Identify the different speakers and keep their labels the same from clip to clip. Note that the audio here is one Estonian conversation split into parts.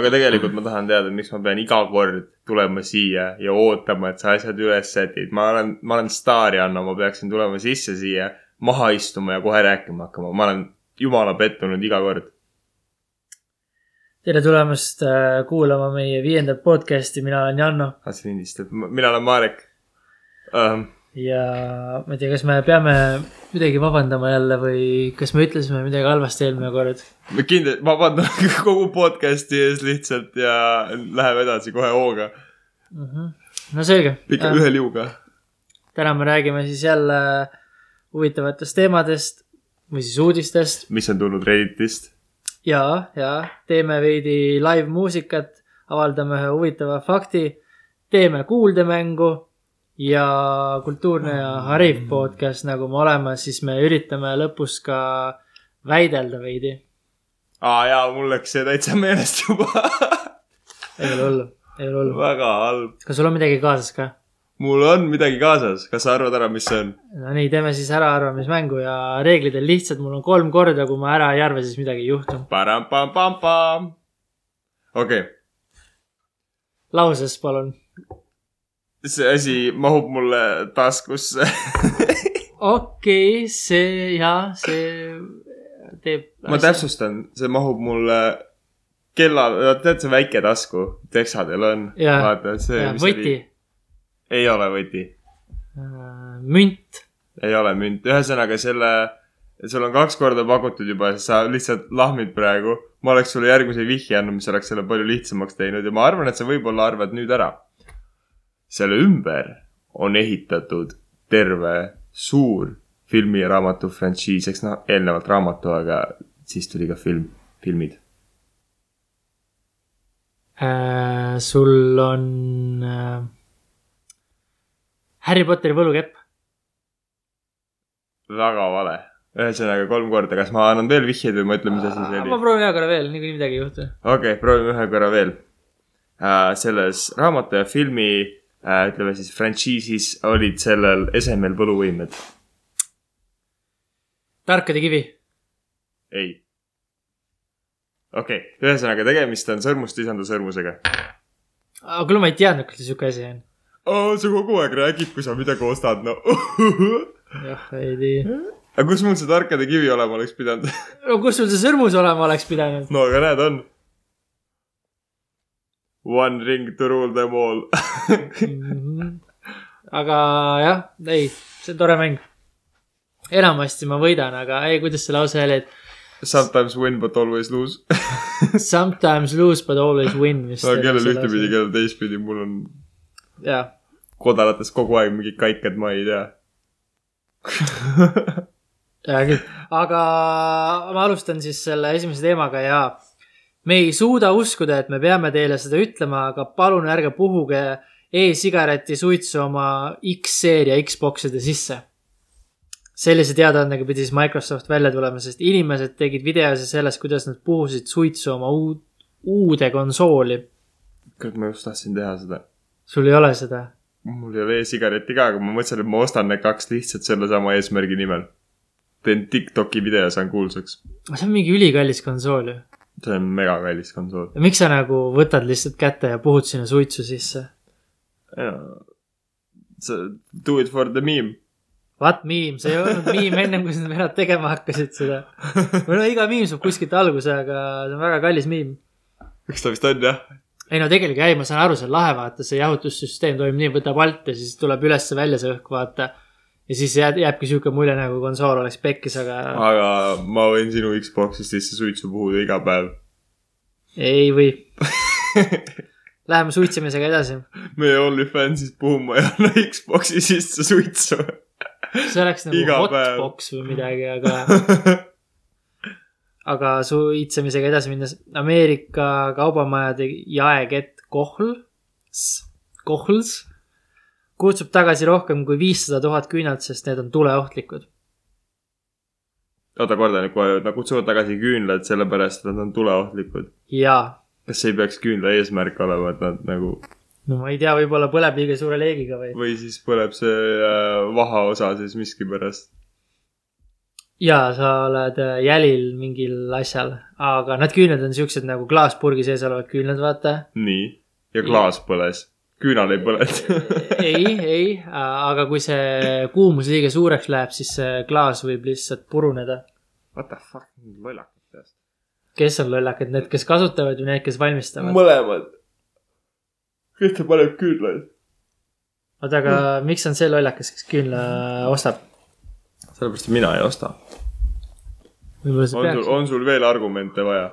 Speaker 1: aga tegelikult ma tahan teada , miks ma pean iga kord tulema siia ja ootama , et sa asjad üles sätid . ma olen , ma olen staar , Janno , ma peaksin tulema sisse siia , maha istuma ja kohe rääkima hakkama . ma olen jumala pettunud iga kord .
Speaker 2: tere tulemast äh, kuulama meie viiendat podcasti , mina olen Janno
Speaker 1: tahtsin lindistada , mina olen Marek um, .
Speaker 2: ja ma ei tea , kas me peame midagi vabandama jälle või kas me ütlesime midagi halvasti eelmine kord .
Speaker 1: kindlasti , vabandan kogu podcast'i ees lihtsalt ja läheme edasi kohe hooga ,
Speaker 2: Mhm. no selge .
Speaker 1: ikka ühe liuga .
Speaker 2: täna me räägime siis jälle huvitavatest teemadest või siis uudistest
Speaker 1: mis on tulnud Redditist ,
Speaker 2: ja , ja teeme veidi live muusikat , avaldame ühe huvitava fakti , teeme kuuldemängu ja kultuurne ja hariv podcast , nagu me oleme , siis me üritame lõpus ka väidelda veidi .
Speaker 1: aa jaa , mul läks see täitsa meelest juba
Speaker 2: ei ole hullu , ei ole hullu .
Speaker 1: väga halb .
Speaker 2: kas sul on midagi kaasas ka ?
Speaker 1: mul on midagi kaasas , kas sa arvad ära , mis see on ?
Speaker 2: Nonii , teeme siis äraarvamismängu ja reeglid on lihtsad , mul on kolm korda , kui ma ära ei arva , siis midagi ei juhtu .
Speaker 1: parampampampam . okei okay. ,
Speaker 2: lauses palun .
Speaker 1: see asi mahub mulle taskusse .
Speaker 2: okei okay, , see ja see teeb .
Speaker 1: ma . täpsustan , see mahub mulle kella , tead see väike tasku , teksadel on .
Speaker 2: Jaa.
Speaker 1: vaata see .
Speaker 2: võti ,
Speaker 1: ei ole võti ,
Speaker 2: Äh, münt ,
Speaker 1: ei ole münt , ühesõnaga selle , sul on kaks korda pakutud juba , sa lihtsalt lahmid praegu . ma oleks sulle järgmise vihje andnud , mis oleks selle palju lihtsamaks teinud ja ma arvan , et sa võib-olla arvad nüüd ära . selle ümber on ehitatud terve suur filmi ja raamatu frantsiis , eks noh , eelnevalt raamatu , aga siis tuli ka film , filmid .
Speaker 2: sul on äh, Harry Potteri võlukepp ,
Speaker 1: väga vale , ühesõnaga kolm korda , kas ma annan veel vihjeid või ma ütlen , mis asi see oli
Speaker 2: Äh, ma ? proovin ühe korra veel , niikuinii midagi ei juhtu .
Speaker 1: okei okay, , proovime ühe korra veel äh, . selles raamatu ja filmi äh, , ütleme siis frantsiisis olid sellel esemel võluvõimed .
Speaker 2: tarkade kivi ,
Speaker 1: ei . okei okay. , ühesõnaga tegemist on sõrmust lisanda sõrmusega .
Speaker 2: kuule , ma ei teadnud , kuidas sihuke asi on .
Speaker 1: aa , sa kogu aeg räägid , kui sa midagi ostad , no .
Speaker 2: jah , ei tea .
Speaker 1: aga kus mul see tarkade kivi olema oleks pidanud ?
Speaker 2: no kus sul see sõrmus olema oleks pidanud ?
Speaker 1: no aga näed , on . One ring to rule them all .
Speaker 2: Mhm. aga jah , ei , see on tore mäng . enamasti ma võidan , aga ei , kuidas see lause oli , et
Speaker 1: Sometimes win but always lose .
Speaker 2: sometimes lose but always win vist .
Speaker 1: kellel ühtepidi , kellel teistpidi , mul on
Speaker 2: jah ,
Speaker 1: kodarates kogu aeg mingi kaikad , ma ei tea .
Speaker 2: hea küll , aga ma alustan siis selle esimese teemaga ja me ei suuda uskuda , et me peame teile seda ütlema , aga palun ärge puhuge e-sigareti suitsu oma X-seeria Xbox'ide sisse . sellise teadaandega pidi siis Microsoft välja tulema , sest inimesed tegid videosi sellest , kuidas nad puhusid suitsu oma uud, uude konsooli .
Speaker 1: kurat , ma just tahtsin teha seda .
Speaker 2: sul ei ole seda ?
Speaker 1: mul ei ole e-sigareti ka , aga ma mõtlesin , et ma ostan need kaks lihtsalt sellesama eesmärgi nimel . teen Tiktoki video ja saan kuulsaks .
Speaker 2: see on mingi ülikallis konsool ju .
Speaker 1: see on megakallis konsool .
Speaker 2: miks sa nagu võtad lihtsalt kätte ja puhud sinna suitsu sisse ?
Speaker 1: Do it for the meme .
Speaker 2: What meme , see ei olnud meme ennem , kui sa nad tegema hakkasid seda . või no iga meme saab kuskilt alguse , aga see on väga kallis meme .
Speaker 1: eks ta vist on jah ?
Speaker 2: ei no tegelikult ei , ma saan aru , see on lahe , vaata see jahutussüsteem toimib nii , võtab alt ja siis tuleb üles-välja see õhk , vaata . ja siis jääb , jääbki sihuke mulje nagu konsool oleks pekkis , aga
Speaker 1: aga ma võin sinu Xbox'ist sisse suitsu puhuda iga päev .
Speaker 2: ei või . Läheme suitsimisega edasi .
Speaker 1: meie OnlyFansis puhuma ei anna Xbox'i sisse suitsu .
Speaker 2: see oleks nagu
Speaker 1: Iga päev.
Speaker 2: hotbox või midagi , aga , aga suitsemisega edasi minnes Ameerika kaubamajade jaekett Kohl , Kohls kutsub tagasi rohkem kui viissada tuhat küünalt , sest need on tuleohtlikud .
Speaker 1: oota , kordan nüüd kohe , nad kutsuvad tagasi küünlad sellepärast , et nad on tuleohtlikud .
Speaker 2: jaa ,
Speaker 1: kas see ei peaks küünla eesmärk olema , et nad nagu
Speaker 2: no ma ei tea , võib-olla põleb liiga suure leegiga või ?
Speaker 1: või siis põleb see äh, vahaosa siis miskipärast .
Speaker 2: ja sa oled äh, jälil mingil asjal , aga need küüned on siuksed nagu klaaspurgi sees olevad küüned , vaata .
Speaker 1: nii , ja klaas põles , küünal ei põlenud .
Speaker 2: ei , ei , aga kui see kuumus liiga suureks läheb , siis see klaas võib lihtsalt puruneda .
Speaker 1: What the fuck , lollakad peast .
Speaker 2: kes on lollakad , need , kes kasutavad või need , kes valmistavad ?
Speaker 1: mõlemad . kes see paneb küünlaid ?
Speaker 2: oota , aga miks on see lollakas , kes küünla ostab ?
Speaker 1: sellepärast , et mina ei osta .
Speaker 2: võib-olla see
Speaker 1: on sul ,
Speaker 2: peaks .
Speaker 1: on sul veel argumente vaja ?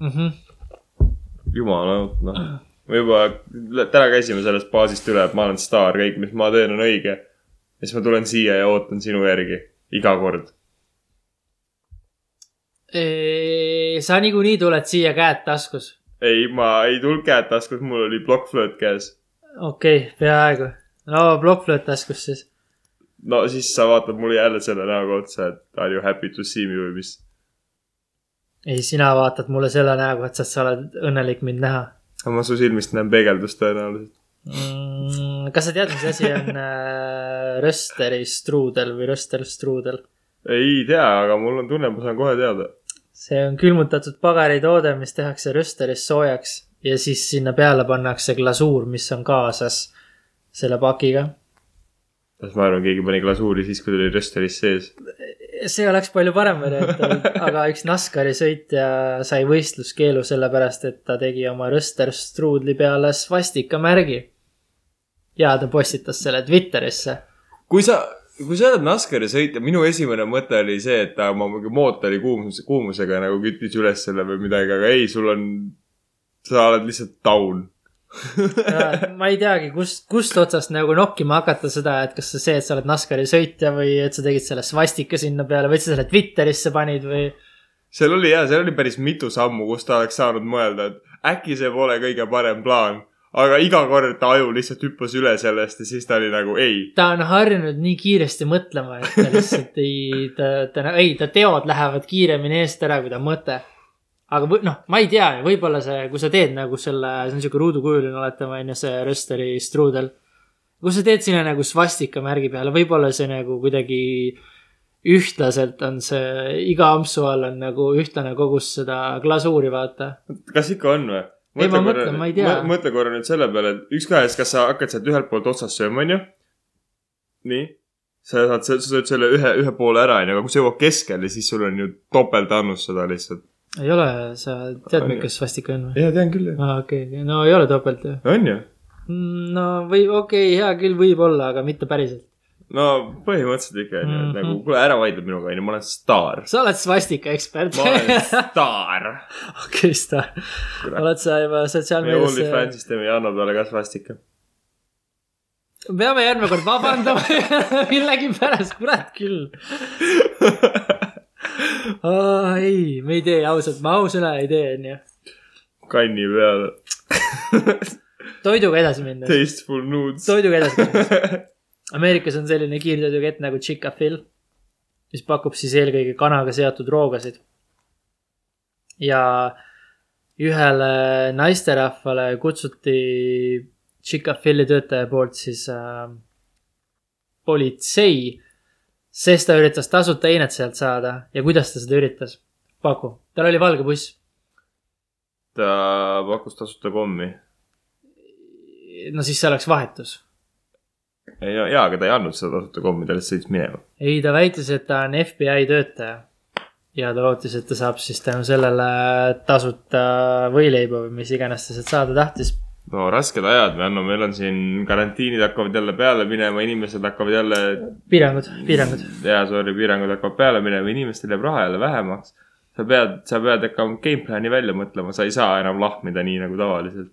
Speaker 2: Mm -hmm.
Speaker 1: jumala , noh . me juba lä- täna käisime sellest baasist üle , et ma olen staar , kõik , mis ma teen , on õige . ja siis ma tulen siia ja ootan sinu järgi iga kord .
Speaker 2: E, sa niikuinii tuled siia käed taskus .
Speaker 1: ei , ma ei tulnud käed taskus , mul oli plokkflööt käes .
Speaker 2: okei okay, , peaaegu . no plokkflööt taskus siis .
Speaker 1: no siis sa vaatad mulle jälle selle näoga otsa , et are you happy to see me või mis .
Speaker 2: ei , sina vaatad mulle selle näoga otsa , et sa oled õnnelik mind näha
Speaker 1: aga ma su silmist näen peegeldust tõenäoliselt .
Speaker 2: mm, . kas sa tead , mis asi on äh, rösteri struudel või röster struudel ?
Speaker 1: ei tea , aga mul on tunne , ma saan kohe teada .
Speaker 2: see on külmutatud pagaritoode , mis tehakse rösteris soojaks ja siis sinna peale pannakse glasuur , mis on kaasas selle pakiga .
Speaker 1: kas ma arvan , keegi pani glasuuri siis , kui ta oli rösteris sees .
Speaker 2: see oleks palju parem variant olnud , aga üks NASCARi sõitja sai võistluskeelu sellepärast , et ta tegi oma röster struudli peale svastika märgi . ja ta postitas selle Twitterisse .
Speaker 1: kui sa , kui sa oled NASCARi sõitja , minu esimene mõte oli see , et ta oma mingi mootori kuumus , kuumusega nagu küttis üles selle või midagi , aga ei , sul on , sa oled lihtsalt down .
Speaker 2: ma ei teagi , kust , kust otsast nagu nokkima hakata seda , et kas see , et sa oled NASCARi sõitja või et sa tegid selle svastika sinna peale või et sa selle Twitterisse panid või
Speaker 1: seal oli jaa , seal oli päris mitu sammu , kus ta oleks saanud mõelda , et äkki see pole kõige parem plaan . aga iga kord ta aju lihtsalt hüppas üle sellest ja siis ta oli nagu ei .
Speaker 2: ta on harjunud nii kiiresti mõtlema , et ta lihtsalt ei , ta , ta , ei , ta teod lähevad kiiremini eest ära , kui ta mõte . aga või- noh , ma ei tea , võib-olla see , kui sa teed nagu selle , see on siuke ruudukujuline oletame onju , see rösteri struudel . kui sa teed sinna nagu svastika märgi peale , võib-olla see nagu kuidagi ühtlaselt on see , iga ampsu all on nagu ühtlane kogus seda glasuuri , vaata .
Speaker 1: kas ikka on või ?
Speaker 2: Ei, ma mõtlen, ma ei tea.
Speaker 1: mõtle korra nüüd selle peale , et ükskõik , kas sa hakkad sealt ühelt poolt otsast sööma , onju . nii . sa saad , sa sööd selle ühe , ühe poole ära , onju , aga kui sa jõuad keskele , siis sul on ju topeltannus seda lihtsalt .
Speaker 2: ei ole , sa tead ,
Speaker 1: On ju.
Speaker 2: mis svastika on või ?
Speaker 1: jaa , tean küll , jah .
Speaker 2: aa , okei , no ei ole topelt ju .
Speaker 1: on ju ?
Speaker 2: no või okei okay, , hea küll , võib-olla , aga mitte päriselt .
Speaker 1: no põhimõtteliselt ikka , onju ,
Speaker 2: Mhm.
Speaker 1: et nagu , kuule , ära vaidle minuga , onju , ma olen staar .
Speaker 2: sa oled svastika ekspert .
Speaker 1: ma olen staar .
Speaker 2: okei , Star .
Speaker 1: Kurat.
Speaker 2: oled sa juba
Speaker 1: me
Speaker 2: sotsiaalmeedias . äh,
Speaker 1: OnlyFansist teeme Janno peale ka svastika .
Speaker 2: peame järgmine kord vabandama millegipärast , kurat küll . ei , me ei tee ausalt , ma ausõna ei tee , onju .
Speaker 1: kanni peale .
Speaker 2: toiduga edasi minna .
Speaker 1: Tasteful nudes .
Speaker 2: toiduga edasi minna . Ameerikas on selline kiirtoidukett nagu Chick-A-Fil , mis pakub siis eelkõige kanaga seotud roogasid . ja ühele naisterahvale kutsuti Chick-A-Fili töötaja poolt siis äh, politsei , sest ta üritas tasuta einet sealt saada ja kuidas ta seda üritas ? paku , tal oli valge buss .
Speaker 1: ta pakkus tasuta kommi
Speaker 2: no siis see oleks vahetus
Speaker 1: ei no jaa , aga ta ei andnud seda tasuta kommi , ta lihtsalt sõitis minema .
Speaker 2: ei , ta väitis , et ta on FBI töötaja . ja ta lootis , et ta saab siis tänu sellele tasuta võileiba või mis iganes ta sealt saada tahtis .
Speaker 1: no rasked ajad , me anname , meil on siin karantiinid hakkavad jälle peale minema , inimesed hakkavad jälle ,
Speaker 2: piirangud , piirangud .
Speaker 1: jaa , sorry , piirangud hakkavad peale minema , inimestel jääb raha jälle vähemaks . sa pead , sa pead hakkama game plan'i välja mõtlema , sa ei saa enam lahmida nii nagu tavaliselt .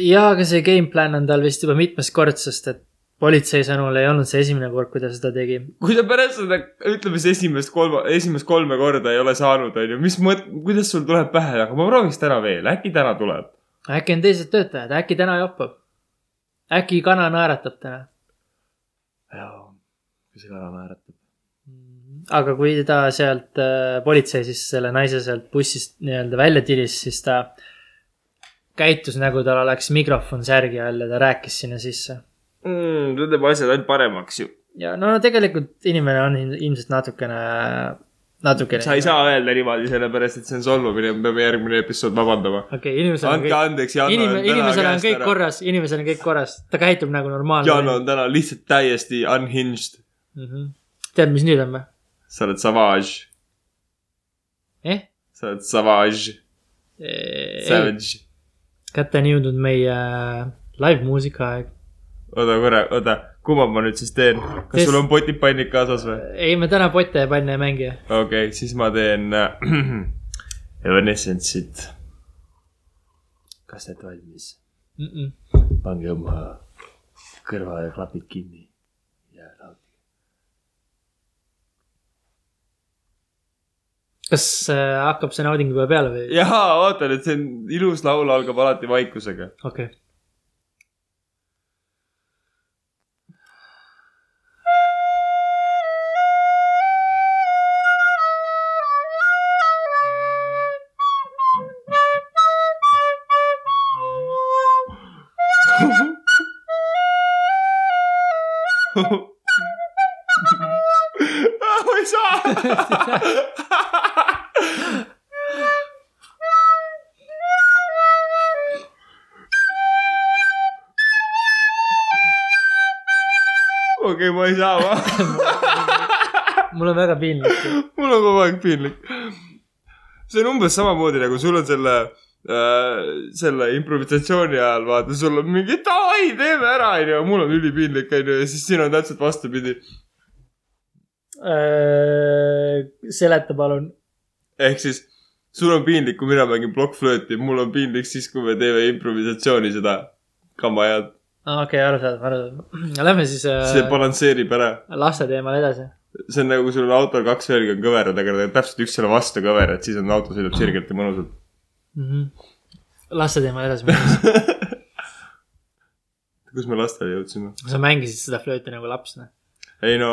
Speaker 2: ja , aga see game plan on tal vist juba mitmes kord , sest et politsei sõnul ei olnud see esimene kord , kui ta seda tegi .
Speaker 1: kui sa pärast seda , ütleme siis esimest kolme , esimest kolme korda ei ole saanud , on ju , mis mõt- , kuidas sul tuleb pähe , aga ma prooviks täna veel , äkki täna tuleb .
Speaker 2: äkki on teised töötajad , äkki täna joppab . äkki kana naeratab täna .
Speaker 1: jaa , kui see kana naeratab .
Speaker 2: aga kui ta sealt äh, , politsei siis selle naise sealt bussist nii-öelda välja tilis , siis ta käitus nagu tal oleks mikrofon särgi all ja ta rääkis sinna sisse .
Speaker 1: see teeb Mm, asjad ainult paremaks ju .
Speaker 2: ja no tegelikult inimene on ilm- ilmselt natukene , natukene .
Speaker 1: sa ei . saa öelda niimoodi , sellepärast et see on solvumine , me peame järgmine episood vabandama .
Speaker 2: okei okay, , inimesel on
Speaker 1: andke
Speaker 2: kõik ,
Speaker 1: andeks , Janno on
Speaker 2: inimene , inimesel
Speaker 1: täna
Speaker 2: on kõik
Speaker 1: käest ära .
Speaker 2: korras , inimesel on kõik korras , ta käitub nagu normaalne
Speaker 1: Janno . on täna lihtsalt täiesti unhinged .
Speaker 2: Mm -hmm. tead , mis nüüd on või ?
Speaker 1: sa oled savage ,
Speaker 2: eh ?
Speaker 1: sa oled savage ,
Speaker 2: ei ,
Speaker 1: savage .
Speaker 2: kätte on jõudnud meie äh, live muusika aeg .
Speaker 1: oota korra , oota , kumba ma nüüd siis teen ? kas
Speaker 2: Test-
Speaker 1: sul on potid pannid kaasas või ?
Speaker 2: ei , me täna potte ja panne ei mängi .
Speaker 1: okei okay, , siis ma teen äh, Evanescence'it . kas olete valmis ?
Speaker 2: Mm -mm.
Speaker 1: pange oma kõrvaklapid kinni ja nautige .
Speaker 2: kas äh, hakkab see nauding juba peale või ?
Speaker 1: jaa , oota nüüd , see on ilus laul algab alati vaikusega .
Speaker 2: okei .
Speaker 1: ma ei saa . okei , ma ei saa , ma ,
Speaker 2: mul on väga piinlik .
Speaker 1: mul on kogu aeg piinlik . see on umbes samamoodi nagu sul on selle äh, , selle improvisatsiooni ajal , vaata , sul on mingi davai , teeme ära , onju , mul on ülipiinlik , onju , ja siis siin on täpselt vastupidi .
Speaker 2: Äh, seleta palun .
Speaker 1: ehk siis sul on piinlik , kui mina mängin plokkflööti , mul on piinlik siis , kui me teeme improvisatsiooni seda kama ja
Speaker 2: Ah, okei , arusaadav , arusaadav . Lähme siis
Speaker 1: see
Speaker 2: äh,
Speaker 1: balansseerib ära .
Speaker 2: laste teemal edasi .
Speaker 1: see on nagu , kui sul on autol kaks värgi on kõverad , aga ta on täpselt üks selle vastu kõver , et siis on auto sõidab sirgelt ja mõnusalt .
Speaker 2: Mhm. laste teemal edasi minnes ,
Speaker 1: kus me lastele jõudsime ?
Speaker 2: sa mängisid seda flööti nagu lapsena .
Speaker 1: ei no ,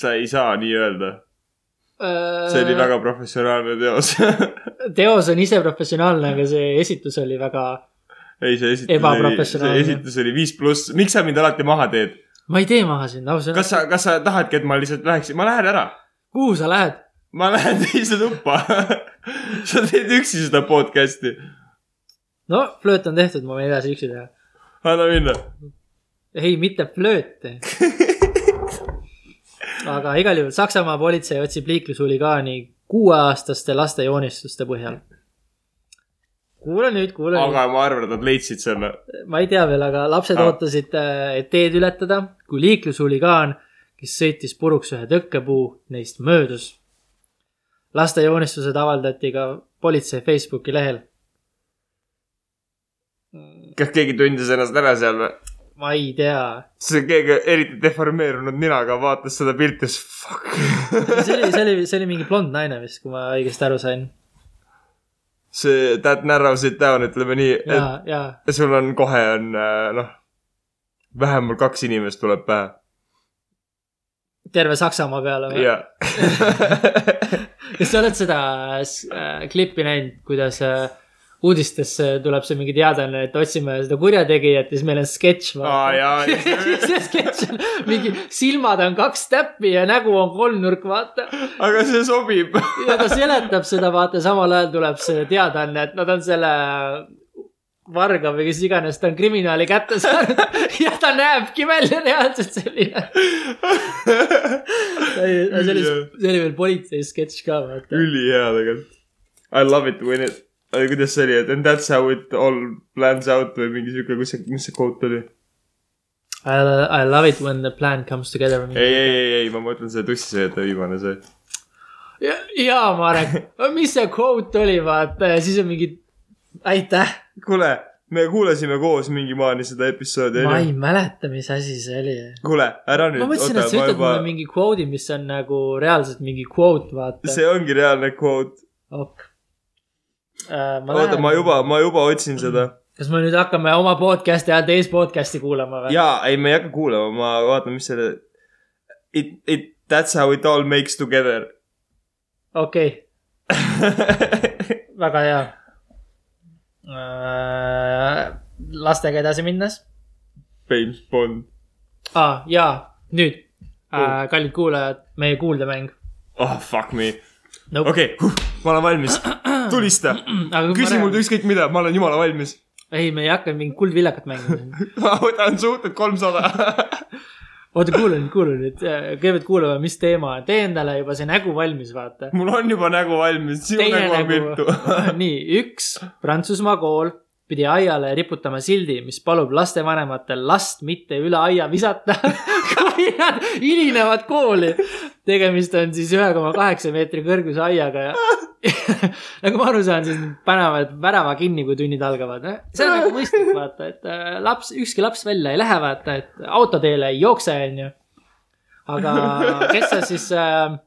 Speaker 1: sa ei saa nii öelda , see oli . väga professionaalne teos .
Speaker 2: Äh, teos on ise professionaalne , aga see esitus oli väga ,
Speaker 1: ei , see esitus oli , see
Speaker 2: Ebaprofessionaalne. Äh.
Speaker 1: esitus oli viis pluss , miks sa mind alati maha teed ?
Speaker 2: ma ei tee maha sind ausõna
Speaker 1: kas . sa , kas sa tahadki , et ma lihtsalt läheksin , ma lähen ära
Speaker 2: kuhu sa lähed ?
Speaker 1: ma lähen teise tuppa . sa teed üksi seda podcast'i .
Speaker 2: no flööt on tehtud , ma võin edasi üksi teha .
Speaker 1: anna minna .
Speaker 2: ei , mitte flööte . aga igal juhul Saksamaa politsei otsib liiklushuligaani kuueaastaste laste joonistuste põhjal . kuule nüüd , kuule aga...
Speaker 1: aga ma arvan , et nad leidsid selle .
Speaker 2: nüüd , ma ei tea veel , aga lapsed
Speaker 1: Ah.
Speaker 2: ah. ootasid , et teed ületada , kui liiklushuligaan , kes sõitis puruks ühe tõkkepuu , neist möödus . laste joonistused avaldati ka politsei Facebooki lehel .
Speaker 1: kas keegi tundis ennast ära seal või ?
Speaker 2: ma ei tea ,
Speaker 1: see keegi eriti deformeerunud ninaga vaatas seda pilti , siis fuck .
Speaker 2: see oli , see oli , see oli mingi blond naine vist , kui ma õigesti aru sain .
Speaker 1: see that narrows it down , ütleme nii ,
Speaker 2: ja , ja
Speaker 1: et sul on kohe on äh, noh , vähemalt kaks inimest tuleb pähe
Speaker 2: terve Saksamaa peale või ?
Speaker 1: ja
Speaker 2: kas sa oled seda s- äh, klippi näinud , kuidas äh, uudistesse tuleb see mingi teadlane , et otsime seda kurjategijat ja siis meil on sketš .
Speaker 1: Aa, jaa, ja siis-
Speaker 2: see sketš on mingi silmad on kaks täppi ja nägu on kolmnurk , vaata .
Speaker 1: aga see sobib .
Speaker 2: ja ta seletab seda , vaata , samal ajal tuleb see teadlane , et nad on selle äh, varga või kes iganes , ta on kriminaali kätte saanud ja ta näebki välja reaalselt selline . see oli , see oli veel politsei sketš ka , vaata .
Speaker 1: ülihea tegelikult . I love it when it , kuidas see oli , et and that's how it all plans out või mingi siuke , kus see , mis see quote oli ?
Speaker 2: I, I love it when the plan comes together .
Speaker 1: ei , ei , ei , ei , ma mõtlen see tussisööta viimane see .
Speaker 2: ja , ja Marek , mis see quote oli , vaata ja siis on mingi aitäh .
Speaker 1: kuule , me kuulasime koos mingi maani seda episoodi ,
Speaker 2: ma
Speaker 1: onju .
Speaker 2: ei mäleta , mis asi see oli .
Speaker 1: kuule , ära nüüd .
Speaker 2: ma mõtlesin , et sa ütled mulle mingi quote'i , mis on nagu reaalselt mingi quote , vaata .
Speaker 1: see ongi reaalne quote .
Speaker 2: ok .
Speaker 1: oota , ma . juba , ma juba otsin seda .
Speaker 2: kas me nüüd hakkame oma podcast'i ja teist podcast'i kuulama või ?
Speaker 1: jaa , ei , me ei hakka kuulama , ma vaatan , mis selle . It , it , that's how it all makes together .
Speaker 2: okei okay, , väga hea . lastega edasi minnes
Speaker 1: James Bond .
Speaker 2: ah, . jaa , nüüd äh, , kallid kuulajad , meie kuuldemäng .
Speaker 1: oh fuck me ,
Speaker 2: Nope.
Speaker 1: okei , ma olen valmis , tulista ,
Speaker 2: aga
Speaker 1: küsi mult
Speaker 2: üks .
Speaker 1: ükskõik mida , ma olen jumala valmis .
Speaker 2: ei , me ei hakka mingit kuldvillakat mängima siin .
Speaker 1: ma võtan suhted kolmsada .
Speaker 2: oota , kuula nüüd , kuula nüüd , kõigepealt kuulame , mis teema on , tee endale juba see nägu valmis , vaata .
Speaker 1: mul on juba nägu valmis , sinu
Speaker 2: teine
Speaker 1: nägu on
Speaker 2: nägu
Speaker 1: viltu .
Speaker 2: nii , üks Prantsusmaa kool pidi aiale riputama sildi , mis palub lastevanematel last mitte üle aia visata , kui nad hilinevad kooli . tegemist on siis ühe koma kaheksa meetri kõrguse aiaga ja nagu ma aru saan , siis nad panevad värava kinni , kui tunnid algavad . see on nagu mõistlik vaata , et äh, laps , ükski laps välja ei lähe , vaata , et autoteele ei jookse , onju . aga kes sa siis äh,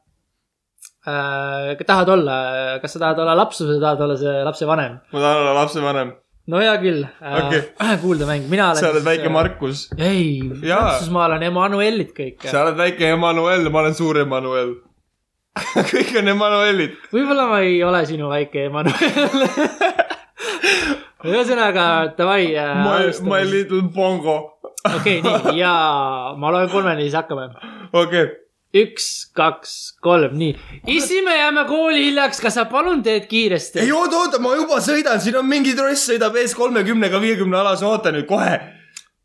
Speaker 2: äh, tahad olla , kas sa tahad olla laps või sa tahad olla see lapsevanem ?
Speaker 1: ma tahan olla lapsevanem ,
Speaker 2: no hea küll äh, okay. , kuuldemäng , mina olen .
Speaker 1: sa oled väike . Markus ,
Speaker 2: ei ,
Speaker 1: Jaa.
Speaker 2: Prantsusmaal on Emmanuelid kõik .
Speaker 1: sa oled väike Emmanuel , ma olen suur Emmanuel . kõik on Emmanuelid .
Speaker 2: võib-olla ma ei ole sinu väike Emmanuel . ühesõnaga davai äh, .
Speaker 1: My , my little bongo .
Speaker 2: okei , nii ja ma loen kolmeni , siis hakkame .
Speaker 1: okei ,
Speaker 2: üks , kaks , kolm , nii . issi , me jääme kooli hiljaks , kas sa palun teed kiiresti
Speaker 1: ei ? oota , oota , ma juba sõidan , siin on mingi tross sõidab ees kolmekümnega viiekümne alas , oota nüüd kohe .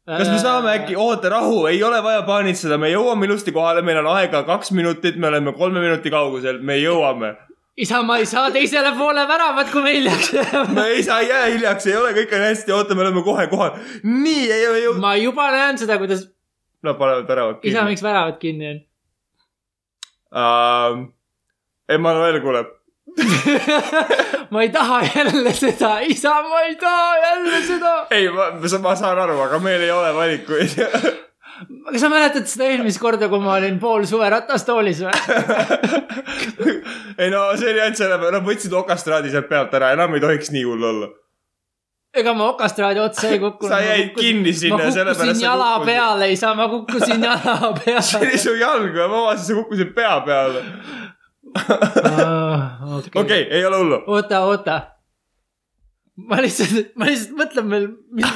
Speaker 1: kas
Speaker 2: Äh,
Speaker 1: me saame äkki ,? oota rahu , ei ole vaja paanitseda , me jõuame ilusti kohale , meil on aega kaks minutit , me oleme kolme minuti kaugusel , me jõuame .
Speaker 2: isa , ma ei saa teisele poole väravat , kui me hiljaks jääme .
Speaker 1: me ei saa jää hiljaks , ei ole , kõik on hästi , oota , me oleme kohe kohal . nii , ei ole jõudnud .
Speaker 2: ma juba näen seda , kuidas
Speaker 1: Nad panevad väravad
Speaker 2: isa ,
Speaker 1: kinni .
Speaker 2: miks väravad kinni on ?
Speaker 1: Uh, Emmanuel kuuleb .
Speaker 2: ma ei taha jälle seda , isa , ma ei taha jälle seda .
Speaker 1: ei , ma , ma saan aru , aga meil ei ole valikuid .
Speaker 2: kas sa mäletad seda eelmist korda , kui ma olin pool suve ratastoolis või ?
Speaker 1: ei no see oli ainult selle , nad võtsid okastraadi sealt pealt ära , enam ei tohiks nii hull olla .
Speaker 2: ega ma okastraadi otsa ei kukkunud .
Speaker 1: Sa jäid kinni sinna ja
Speaker 2: ja
Speaker 1: sellepärast
Speaker 2: sellepärast . ma kukkusin
Speaker 1: sa kukkusid.
Speaker 2: jala peale , isa , ma kukkusin jala
Speaker 1: see oli
Speaker 2: peale .
Speaker 1: su jalg või , ma vaatasin , sa kukkusid pea peale . okei , ei ole hullu .
Speaker 2: Ah, oota , oota . ma lihtsalt , ma lihtsalt mõtlen veel ,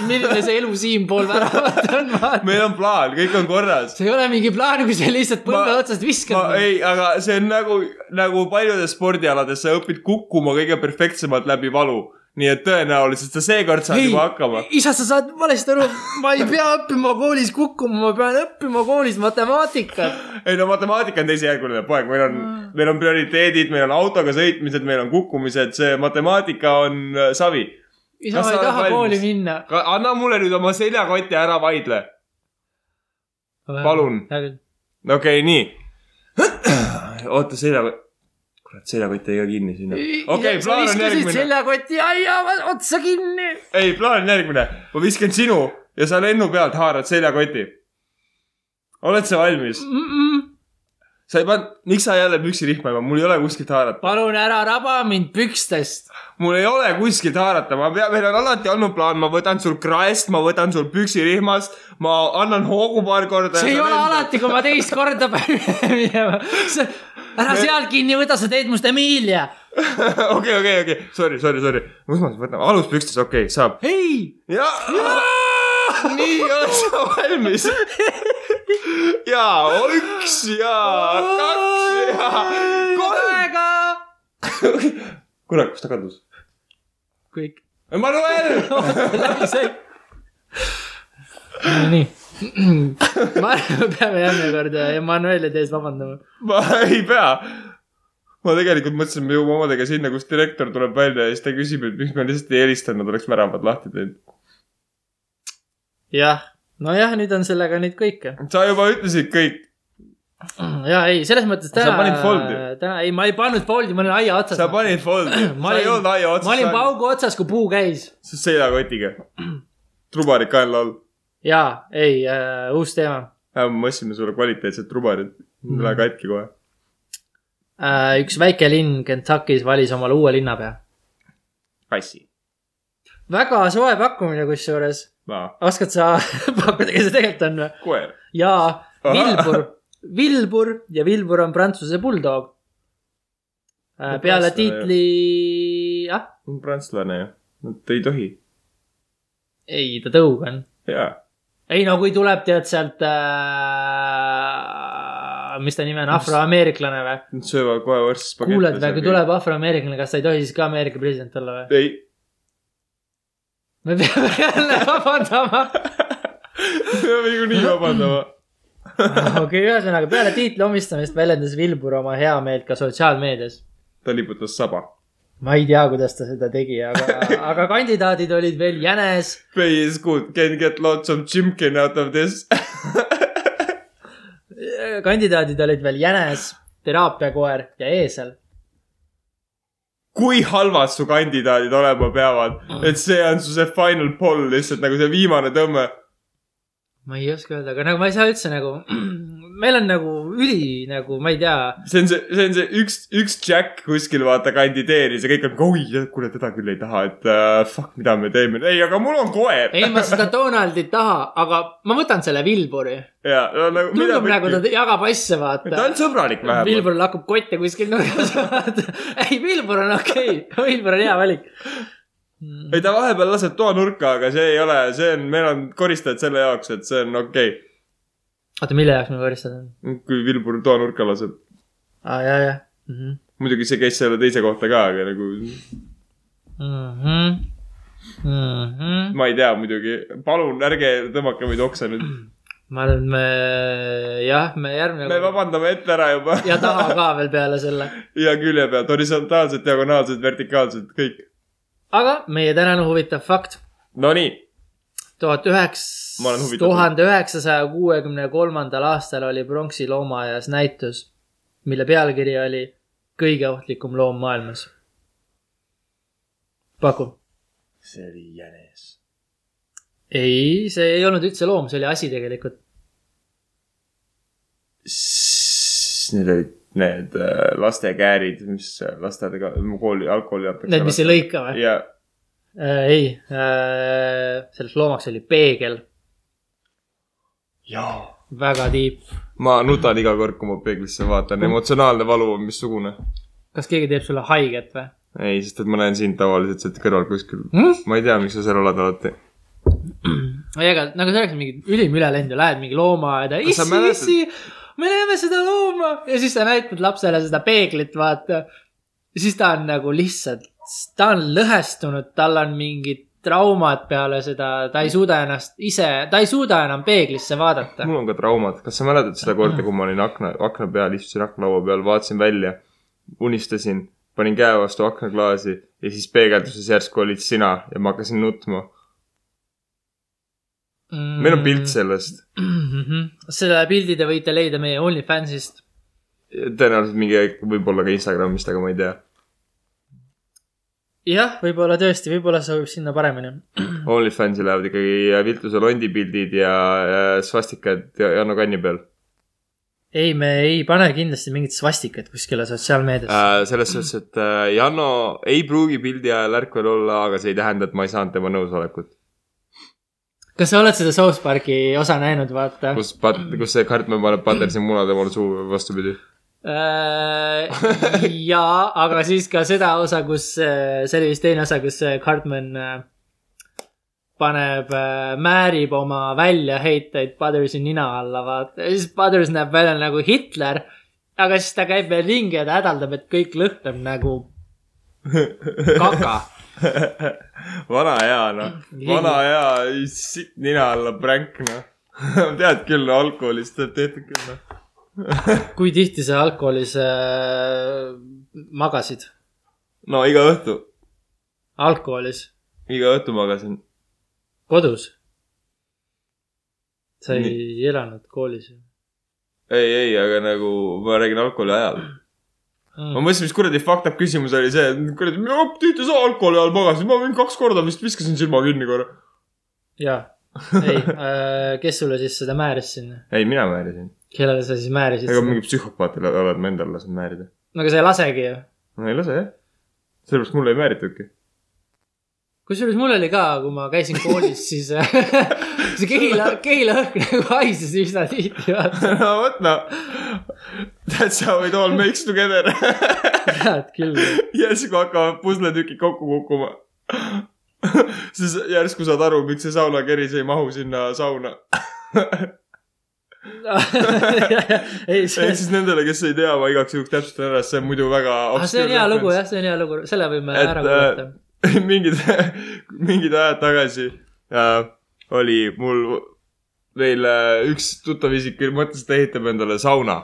Speaker 2: milline see elu siinpool väravat on , vaata .
Speaker 1: meil on plaan , kõik on korras .
Speaker 2: see ei ole mingi plaan , kui sa lihtsalt põlve
Speaker 1: Ma-
Speaker 2: otsast
Speaker 1: ma
Speaker 2: viskad .
Speaker 1: ei , aga see on nagu , nagu paljudes spordialades , sa õpid kukkuma kõige perfektsemalt läbi valu . nii et tõenäoliselt sa seekord saad juba hakkama .
Speaker 2: isa , sa saad valesti aru , ma ei pea õppima koolis kukkuma , ma pean õppima koolis matemaatikat .
Speaker 1: ei no matemaatika on teisejärguline poeg , meil on , meil on prioriteedid , meil on autoga sõitmised , meil on kukkumised , see matemaatika on äh, savi .
Speaker 2: isa ,
Speaker 1: Kas
Speaker 2: ma ei
Speaker 1: sa oled
Speaker 2: taha
Speaker 1: valmis?
Speaker 2: kooli minna .
Speaker 1: anna mulle nüüd oma seljakoti , ära vaidle . Palun. okei okay, , nii . oota , seljakott , kurat , seljakott jäi ka kinni sinna . okei okay, , plaan on järgmine .
Speaker 2: seljakoti aia otsa kinni .
Speaker 1: ei , plaan on järgmine . ma viskan sinu ja sa lennu pealt haarad seljakoti . oled sa valmis ? sa ei pannud , miks sa jälle püksirihma ei pannud , mul ei ole kuskilt haarata .
Speaker 2: palun ära raba mind pükstest .
Speaker 1: mul ei ole kuskilt haarata , ma pean , meil on alati olnud plaan , ma võtan sul kraest , ma võtan sul püksirihmast , ma annan hoogu paar korda .
Speaker 2: see ei ole . alati , kui ma teist korda pean üle minema . ära sealt kinni võta , sa teed must Emilia .
Speaker 1: okei , okei , okei , sorry , sorry , sorry , kus ma siis võtan , aluspükstes , okei okay, , saab .
Speaker 2: ei ,
Speaker 1: ja , nii , oled sa valmis ? ja üks ja kaks ja kolm .
Speaker 2: aega .
Speaker 1: kurat , kus ta kadus ?
Speaker 2: kõik ,
Speaker 1: Emmanuel ,
Speaker 2: läbi sai . nii , ma arvan , me peame järgmine kord äh, Emmanueli tees vabandama .
Speaker 1: ma ei pea ma tegelikult mõtlesin , me jõuame omadega sinna , kus direktor tuleb välja ja siis ta küsib , et miks me lihtsalt ei helistanud , oleks väravad lahti teinud .
Speaker 2: jah , nojah , nüüd on sellega nüüd kõik .
Speaker 1: sa juba ütlesid kõik .
Speaker 2: ja ei , selles mõttes
Speaker 1: Sa
Speaker 2: täna .
Speaker 1: panid foldi.
Speaker 2: täna , ei , ma ei pannud foldi , ma olin aia otsas .
Speaker 1: sa panid foldi ,
Speaker 2: Ma
Speaker 1: sa ei
Speaker 2: olin-
Speaker 1: olnud aia
Speaker 2: ma olin
Speaker 1: otsas ,
Speaker 2: paugu otsas , kui puu käis .
Speaker 1: sa seljakotiga . trubarid kaela all .
Speaker 2: jaa , ei äh, , uus teema
Speaker 1: me ostsime sulle kvaliteetset trubarit ,
Speaker 2: Mm.
Speaker 1: lähe katki kohe .
Speaker 2: äh, . üks väike linn Kentuckis valis omale uue linnapea .
Speaker 1: kassi .
Speaker 2: väga soe pakkumine kusjuures .
Speaker 1: aa ,
Speaker 2: oskad sa pakkuda , kes see tegelikult on või ?
Speaker 1: koer .
Speaker 2: jaa ,
Speaker 1: Ahah.
Speaker 2: Vilbur . Vilbur ja Vilbur on prantsuse bulldoog äh,
Speaker 1: No .
Speaker 2: peale
Speaker 1: prantslane ju.
Speaker 2: tiitli , ah ,
Speaker 1: prantslane ju , nad ei tohi .
Speaker 2: ei , ta tõug on .
Speaker 1: jaa ,
Speaker 2: ei no kui tuleb , tead sealt äh, , mis ta nimi on , afroameeriklane või ?
Speaker 1: Nad söövad kohe vorstist spagetti .
Speaker 2: kuuled või , kui tuleb afroameeriklane , kas ta ei tohi siis ka Ameerika president olla või ?
Speaker 1: ei ,
Speaker 2: me peame jälle vabandama .
Speaker 1: peame niikuinii nagu vabandama .
Speaker 2: okei , ühesõnaga peale tiitli omistamist väljendas Vilbur oma heameelt ka sotsiaalmeedias .
Speaker 1: ta liputas saba .
Speaker 2: ma ei tea , kuidas ta seda tegi , aga , aga kandidaadid olid veel Jänes ,
Speaker 1: Pay is good , can get lots of chimkin out of this .
Speaker 2: kandidaadid olid veel Jänes , teraapiakoer ja eesel .
Speaker 1: kui halvad su kandidaadid olema peavad , et see on su see final poll lihtsalt nagu see viimane tõmme .
Speaker 2: ma ei oska öelda , aga nagu ma ei saa üldse nagu , meil on nagu üli nagu , ma ei tea ,
Speaker 1: see on see , see on see üks , üks Jack kuskil vaata kandideeris ja kõik on , oi , kuule teda küll ei taha , et uh, fuck , mida me teeme . ei , aga mul on koer .
Speaker 2: ei ma seda Donaldit taha , aga ma võtan selle Vilburi .
Speaker 1: ja no, nagu mida
Speaker 2: tundub nagu
Speaker 1: pekki .
Speaker 2: ta jagab asja , vaata .
Speaker 1: ta on sõbralik vähemalt .
Speaker 2: Vilbur lakub kotte kuskil nurgas , vaata . ei , Vilbur on okei okay. , Vilbur on hea valik .
Speaker 1: ei , ta vahepeal laseb toa nurka , aga see ei ole , see on , meil on koristajad selle jaoks , et see on okei okay. .
Speaker 2: oota , mille jaoks me koristame ?
Speaker 1: kui Vilbur toa nurka laseb .
Speaker 2: aa , ja , ja mm . -hmm.
Speaker 1: muidugi see käis selle teise kohta ka , aga nagu
Speaker 2: Mm -hmm. Mm -hmm.
Speaker 1: ma ei tea muidugi . palun ärge tõmmake meid oksa nüüd .
Speaker 2: ma arvan , et me , jah , me
Speaker 1: me
Speaker 2: järgmine .
Speaker 1: vabandame ette ära juba .
Speaker 2: ja taha ka veel peale selle .
Speaker 1: ja külje pealt , horisontaalselt , diagonaalselt , vertikaalselt , kõik .
Speaker 2: aga meie tänane huvitav fakt .
Speaker 1: Nonii ,
Speaker 2: tuhat
Speaker 1: Ma
Speaker 2: üheksa
Speaker 1: olen , huvitatud.
Speaker 2: tuhande üheksasaja kuuekümne kolmandal aastal oli pronksi loomaaias näitus , mille pealkiri oli kõige ohtlikum loom maailmas . paku .
Speaker 1: see oli jänes .
Speaker 2: ei , see ei olnud üldse loom , see oli asi tegelikult .
Speaker 1: Need olid need äh, lastekäärid , mis äh, lastega kooli , algkooli antakse .
Speaker 2: Need , mis ei . lõika või ?
Speaker 1: ja ,
Speaker 2: ei , selleks loomaks oli peegel ,
Speaker 1: ja
Speaker 2: väga tiip .
Speaker 1: ma nutan iga kord , kui ma peeglisse vaatan , emotsionaalne valu on missugune .
Speaker 2: kas keegi teeb sulle haiget või
Speaker 1: ei , sest et ma näen sind tavaliselt sealt kõrval kuskil .
Speaker 2: hm? ?
Speaker 1: ma ei tea , miks sa seal oled alati . Mm.
Speaker 2: ei , aga nagu see oleks mingi ülim ülelend ja lähed mingi loomaaeda ,
Speaker 1: Kas sa
Speaker 2: issi ,
Speaker 1: mäletad-
Speaker 2: issi , me näeme seda looma ja siis sa näitad lapsele seda peeglit , vaata . siis ta on nagu lihtsalt , ta on lõhestunud , tal on mingid traumad peale seda , ta ei suuda ennast ise , ta ei suuda enam peeglisse vaadata .
Speaker 1: mul on ka traumad , kas sa mäletad seda korda , kui ma olin akna , akna peal , istusin aknalaua peal , vaatasin välja , unistasin , panin käe vastu aknaklaasi ja siis peegelduses järsku olid sina ja ma hakkasin nutma . meil on
Speaker 2: Hm.
Speaker 1: pilt . sellest ,
Speaker 2: Mm. Mhm. selle pildi te võite leida meie OnlyFansist .
Speaker 1: tõenäoliselt mingi aeg , võib-olla ka Instagramist , aga ma ei tea .
Speaker 2: jah , võib-olla tõesti , võib-olla sobib sinna paremini .
Speaker 1: OnlyFansi lähevad ikkagi äh, Viltuse londi pildid ja äh, svastikad Janno kanni peal
Speaker 2: ei , me ei pane kindlasti mingit svastikat kuskile sotsiaalmeediasse .
Speaker 1: äh, . selles suhtes , et äh, Janno ei pruugi pildi ajal ärkvel olla , aga see ei tähenda , et ma ei saanud tema nõusolekut .
Speaker 2: kas sa oled seda South Park'i osa näinud , vaata ?
Speaker 1: kus pat- , kus see kartman paneb Pattersi muna temale suhu , vastupidi
Speaker 2: jaa , Äh, aga siis ka seda osa , kus , see oli vist teine osa , kus äh, Cartman äh, paneb , määrib oma väljaheiteid Buttersi nina alla , vaata . ja siis Butters näeb välja nagu Hitler , aga siis ta käib veel ringi ja ta hädaldab , et kõik lõhnab nagu kaka .
Speaker 1: vana hea noh , vana hea sitt nina alla pränk noh . tead küll , alkoholist tuleb tehtud küll noh .
Speaker 2: kui tihti sa algkoolis äh, magasid ?
Speaker 1: no iga õhtu ,
Speaker 2: algkoolis ,
Speaker 1: iga õhtu magasin .
Speaker 2: kodus ? sa ei
Speaker 1: Nii.
Speaker 2: Nii. elanud koolis ju
Speaker 1: ei , ei , aga nagu ma räägin alkoholi ajal . ma
Speaker 2: mm. ?
Speaker 1: mõtlesin , mis kuradi fucked up küsimus oli see , et kuradi , mina tüütu saa alkoholi ajal magasin , ma mingi kaks korda vist viskasin silma kinni korra .
Speaker 2: jaa , ei äh, , kes sulle siis seda määris sinna ?
Speaker 1: ei , mina määrisin .
Speaker 2: kellele sa siis määrisid
Speaker 1: ega
Speaker 2: seda ?
Speaker 1: mingi psühhopaatile oled ma endale lasknud määrida .
Speaker 2: no aga sa ei lasegi ju .
Speaker 1: no ei lase jah . sellepärast mulle ei määritudki .
Speaker 2: kusjuures mul oli ka , kui ma käisin koolis , siis äh, see Keila , Keila õhk nagu haises üsna tihti , vaata .
Speaker 1: no vot noh . That's how it all makes together
Speaker 2: tead küll .
Speaker 1: järsku hakkavad pusletükid kokku kukkuma . siis järsku saad aru , miks see saunakeris ei mahu sinna sauna .
Speaker 2: ei , see
Speaker 1: ehk , siis nendele , kes ei tea , ma igaks juhuks täpsustan ära , see on muidu väga .
Speaker 2: Ah, see on hea lugu jah , see on hea lugu , selle võime
Speaker 1: Et, äh,
Speaker 2: et, ära kuulata .
Speaker 1: mingid , mingid ajad tagasi äh, oli mul veel äh, üks tuttav isik mõtles , et ta ehitab endale sauna ,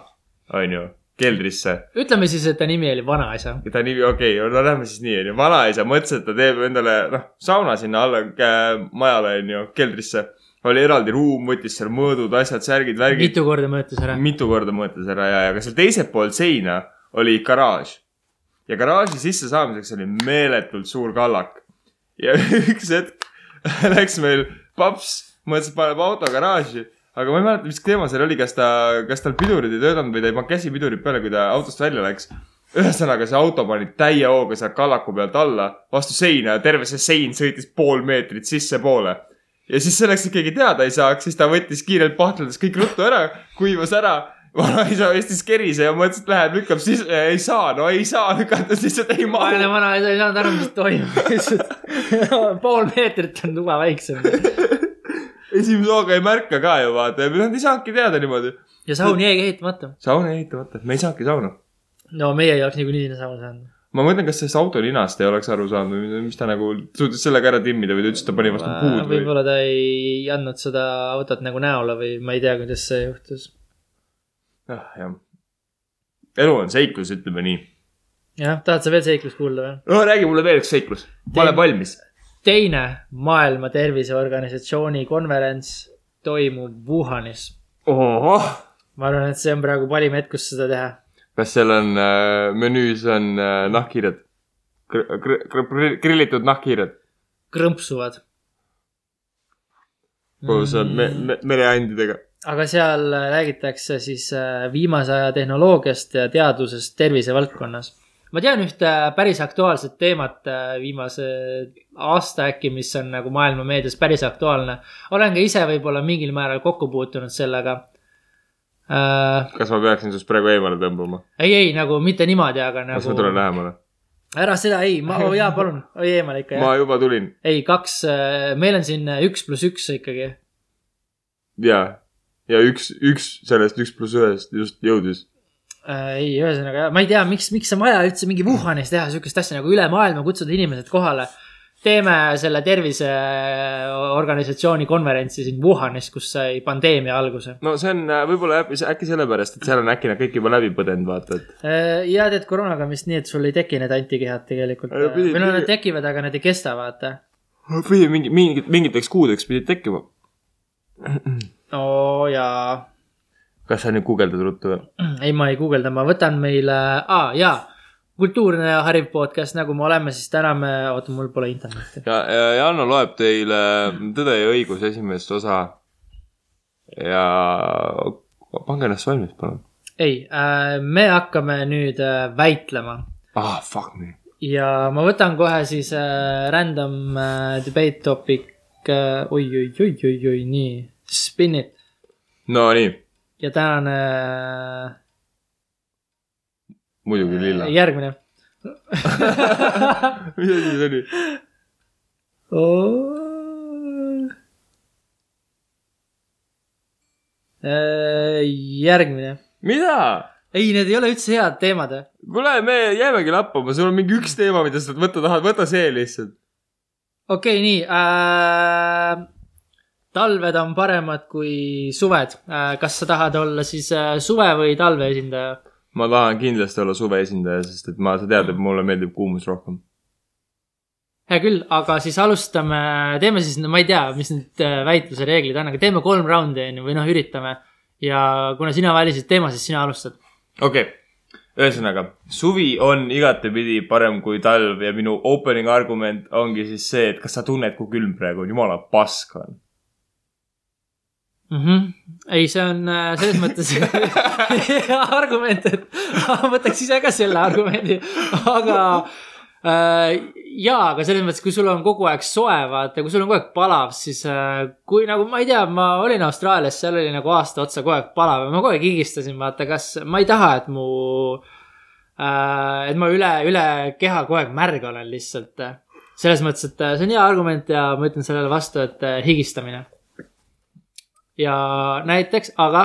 Speaker 1: onju , keldrisse .
Speaker 2: ütleme siis , et ta nimi oli Vanaisa .
Speaker 1: ja ta nimi , okei okay, , no lähme siis nii , onju . vanaisa mõtles , et ta teeb endale , noh , sauna sinna alla äh, majale , onju , keldrisse . oli eraldi ruum , võttis seal mõõdud , asjad , särgid , värgid .
Speaker 2: mitu korda mõõtis ära .
Speaker 1: mitu korda mõõtes ära ja , ja ka seal teiselt poolt seina oli garaaž . ja garaaži sisse saamiseks oli meeletult suur kallak . ja üks hetk läks meil paps , mõtles , et paneb auto garaaži , aga ma ei mäleta , mis teema seal oli , kas ta , kas tal pidurid ei töötanud või ta ei pannud käsipidurit peale , kui ta autost välja läks ühesõnaga , see auto pani täie hooga sealt kallaku pealt alla vastu seina ja terve see sein sõitis pool meetrit sissepoole . ja siis selleks , et keegi teada ei saaks , siis ta võttis kiirelt pahtledes kõik ruttu ära , kuivas ära . vanaisa istus kerise ja mõtles , et läheb lükkab sisse , ei saa , no ei saa lükata sisse , ei mahu
Speaker 2: vaene . vanaisa ei saanud aru , mis toimub , lihtsalt pool meetrit on tuba väiksem .
Speaker 1: esimese hooga ei märka ka ju vaata ja nad ei saanudki teada niimoodi .
Speaker 2: ja saun jäigi ehitamata .
Speaker 1: sauna ehitamata , me ei saanudki sauna .
Speaker 2: no meie ei oleks niikuinii sinna sauna saanud .
Speaker 1: ma mõtlen , kas sellest auto ninast ei oleks aru saanud või mis ta nagu suutis sellega ära timmida või ta ütles , et ta pani vastu puud või .
Speaker 2: võib-olla ta ei andnud seda autot nagu näole või ma ei tea , kuidas see juhtus .
Speaker 1: jah , Ah, jah . elu on seiklus , ütleme nii .
Speaker 2: jah , tahad sa veel seiklust kuulda või ?
Speaker 1: no räägi mulle veel üks seiklus ,
Speaker 2: Tee-
Speaker 1: ma olen valmis .
Speaker 2: teine Maailma Terviseorganisatsiooni konverents toimub Wuhanis .
Speaker 1: ohoh ,
Speaker 2: ma arvan , et see on praegu parim hetk , kus seda teha .
Speaker 1: kas seal on äh, menüüs on äh, nahkhiired gr ? Gr gr grillitud nahkhiired
Speaker 2: krõmpsuvad .
Speaker 1: koos mm. me me mereandidega .
Speaker 2: aga seal äh, räägitakse siis äh, viimase aja tehnoloogiast ja teadusest tervisevaldkonnas . ma tean ühte äh, päris aktuaalset teemat äh, viimase aasta äkki , mis on nagu maailma meedias päris aktuaalne . olen ka ise võib-olla mingil määral kokku puutunud sellega äh, .
Speaker 1: kas ma peaksin sinust praegu eemale tõmbama nagu... ?
Speaker 2: ei , ei nagu mitte niimoodi , aga
Speaker 1: kas ma tulen
Speaker 2: nagu .
Speaker 1: lähemale ?
Speaker 2: ära seda , ei , ma , oo jaa , palun , oi eemale ikka
Speaker 1: ma
Speaker 2: jah .
Speaker 1: juba tulin
Speaker 2: ei , kaks , meil on siin äh, üks pluss üks ikkagi .
Speaker 1: ja , ja üks , üks sellest üks pluss ühest just jõudis .
Speaker 2: äh, ei , ühesõnaga jah , ma ei tea , miks , miks on vaja üldse mingi Wuhanis teha sihukest asja nagu üle maailma kutsuda inimesed kohale . teeme selle terviseorganisatsiooni konverentsi siin Wuhanis , kus sai pandeemia alguse .
Speaker 1: no see on äh, võib-olla äkki, äkki sellepärast , et seal on äkki nad kõik juba läbi põdenud , vaata , et
Speaker 2: Äh, ja tead , koroonaga on vist nii , et sul ei teki need antikehad tegelikult .
Speaker 1: Ei, pidi-
Speaker 2: või no need
Speaker 1: pidi-
Speaker 2: tekivad , aga need ei kesta , vaata .
Speaker 1: pidi mingi , mingi , mingiteks kuudeks pidid tekkima .
Speaker 2: oo jaa .
Speaker 1: kas sa nüüd guugeldad ruttu või ?
Speaker 2: ei , ma ei guugelda , ma võtan meile , aa jaa , kultuurne ja hariv podcast , nagu me oleme , siis täna me , oota , mul pole internetti .
Speaker 1: ja , ja Janno loeb teile Tõde ja õigus esimest osa . ja pange ennast valmis , palun .
Speaker 2: ei äh, , me hakkame nüüd äh, väitlema
Speaker 1: ah , fuck me .
Speaker 2: ja ma võtan kohe siis äh, random äh, debate topic äh, oi , oi , oi , oi , oi , nii , spin it
Speaker 1: Nonii ,
Speaker 2: ja äh, tänane
Speaker 1: muidugi
Speaker 2: äh,
Speaker 1: lilla .
Speaker 2: järgmine
Speaker 1: mis asi see oli ?
Speaker 2: oh. . Äh, järgmine ,
Speaker 1: mida ?
Speaker 2: ei , need ei ole üldse head teemad .
Speaker 1: kuule , me jäämegi lappama , sul on mingi üks teema , mida sa võtta tahad , võta see lihtsalt .
Speaker 2: okei okay, , nii äh, . talved on paremad kui suved äh, . kas sa tahad olla siis äh, suve või talve esindaja ?
Speaker 1: ma tahan kindlasti olla suve esindaja , sest et ma , sa tead , et mulle meeldib kuumus rohkem .
Speaker 2: hea küll , aga siis alustame , teeme siis , no ma ei tea , mis need äh, väitluse reeglid on , aga teeme kolm raundi onju või noh , üritame . ja kuna sina valisid teema , siis sina alustad .
Speaker 1: okei okay. , ühesõnaga suvi on igatepidi parem kui talv ja minu opening argument ongi siis see , et kas sa tunned , kui külm praegu on , jumala pask on .
Speaker 2: Mm -hmm. ei , see on äh, selles mõttes hea argument , et ma võtaks ise ka selle argumendi , aga äh, . jaa , aga selles mõttes , kui sul on kogu aeg soe , vaata , kui sul on kogu aeg palav , siis äh, kui nagu ma ei tea , ma olin Austraalias , seal oli nagu aasta otsa kogu aeg palav ja ma kogu aeg higistasin , vaata , kas ma ei taha , et mu äh, . et ma üle , üle keha kogu aeg märg olen lihtsalt . selles mõttes , et äh, see on hea argument ja ma ütlen sellele vastu , et äh, higistamine . ja näiteks , aga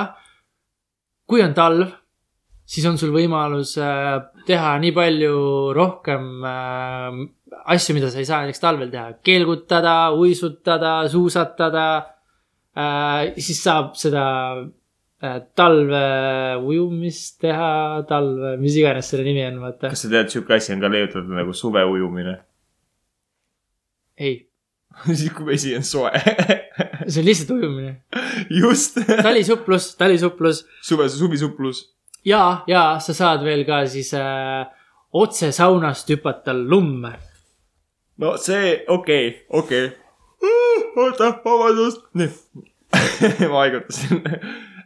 Speaker 2: kui on talv , siis on sul võimalus äh, teha nii palju rohkem äh, asju , mida sa ei saa näiteks talvel teha . kelgutada , uisutada , suusatada äh, . siis saab seda äh, talve ujumist teha , talve , mis iganes selle nimi on , vaata .
Speaker 1: kas sa tead , sihuke asi on ka leiutatud nagu suveujumine ?
Speaker 2: ei ,
Speaker 1: siis , kui vesi on soe .
Speaker 2: see on lihtsalt ujumine .
Speaker 1: just .
Speaker 2: talisuplus , talisuplus
Speaker 1: suve , suvisuplus .
Speaker 2: ja , ja sa saad veel ka siis äh, otse saunast hüpata lumme .
Speaker 1: no see , okei okay, , okei okay. . oota , vabandust . nii . ma haigutasin .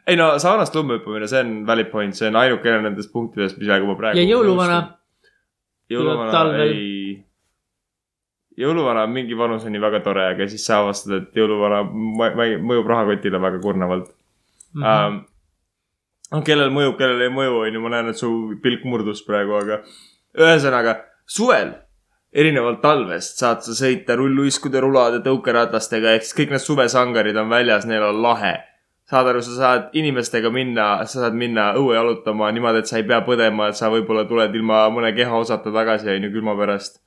Speaker 1: ei no saunast lumme hüppamine , see on valid point , see on ainukene nendest punktidest , millega ma praegu .
Speaker 2: ja jõuluvana , tuleb
Speaker 1: jõuluvana
Speaker 2: talvel.
Speaker 1: ei . jõuluvana on mingi vanuseni väga tore , aga siis sa avastad , et jõuluvana ma- ma- mõjub rahakotile väga kurnavalt
Speaker 2: Mhm.
Speaker 1: mm . -hmm. Um, kellel mõjub , kellel ei mõju , on ju , ma näen , et su pilk murdus praegu , aga ühesõnaga suvel , erinevalt talvest , saad sa sõita rulluiskude , rulade , tõukeratastega , ehk siis kõik need suvesangarid on väljas , neil on lahe . saad aru , sa saad inimestega minna , sa saad minna õue jalutama niimoodi , et sa ei pea põdema , et sa võib-olla tuled ilma mõne kehaosata tagasi , on ju , külma pärast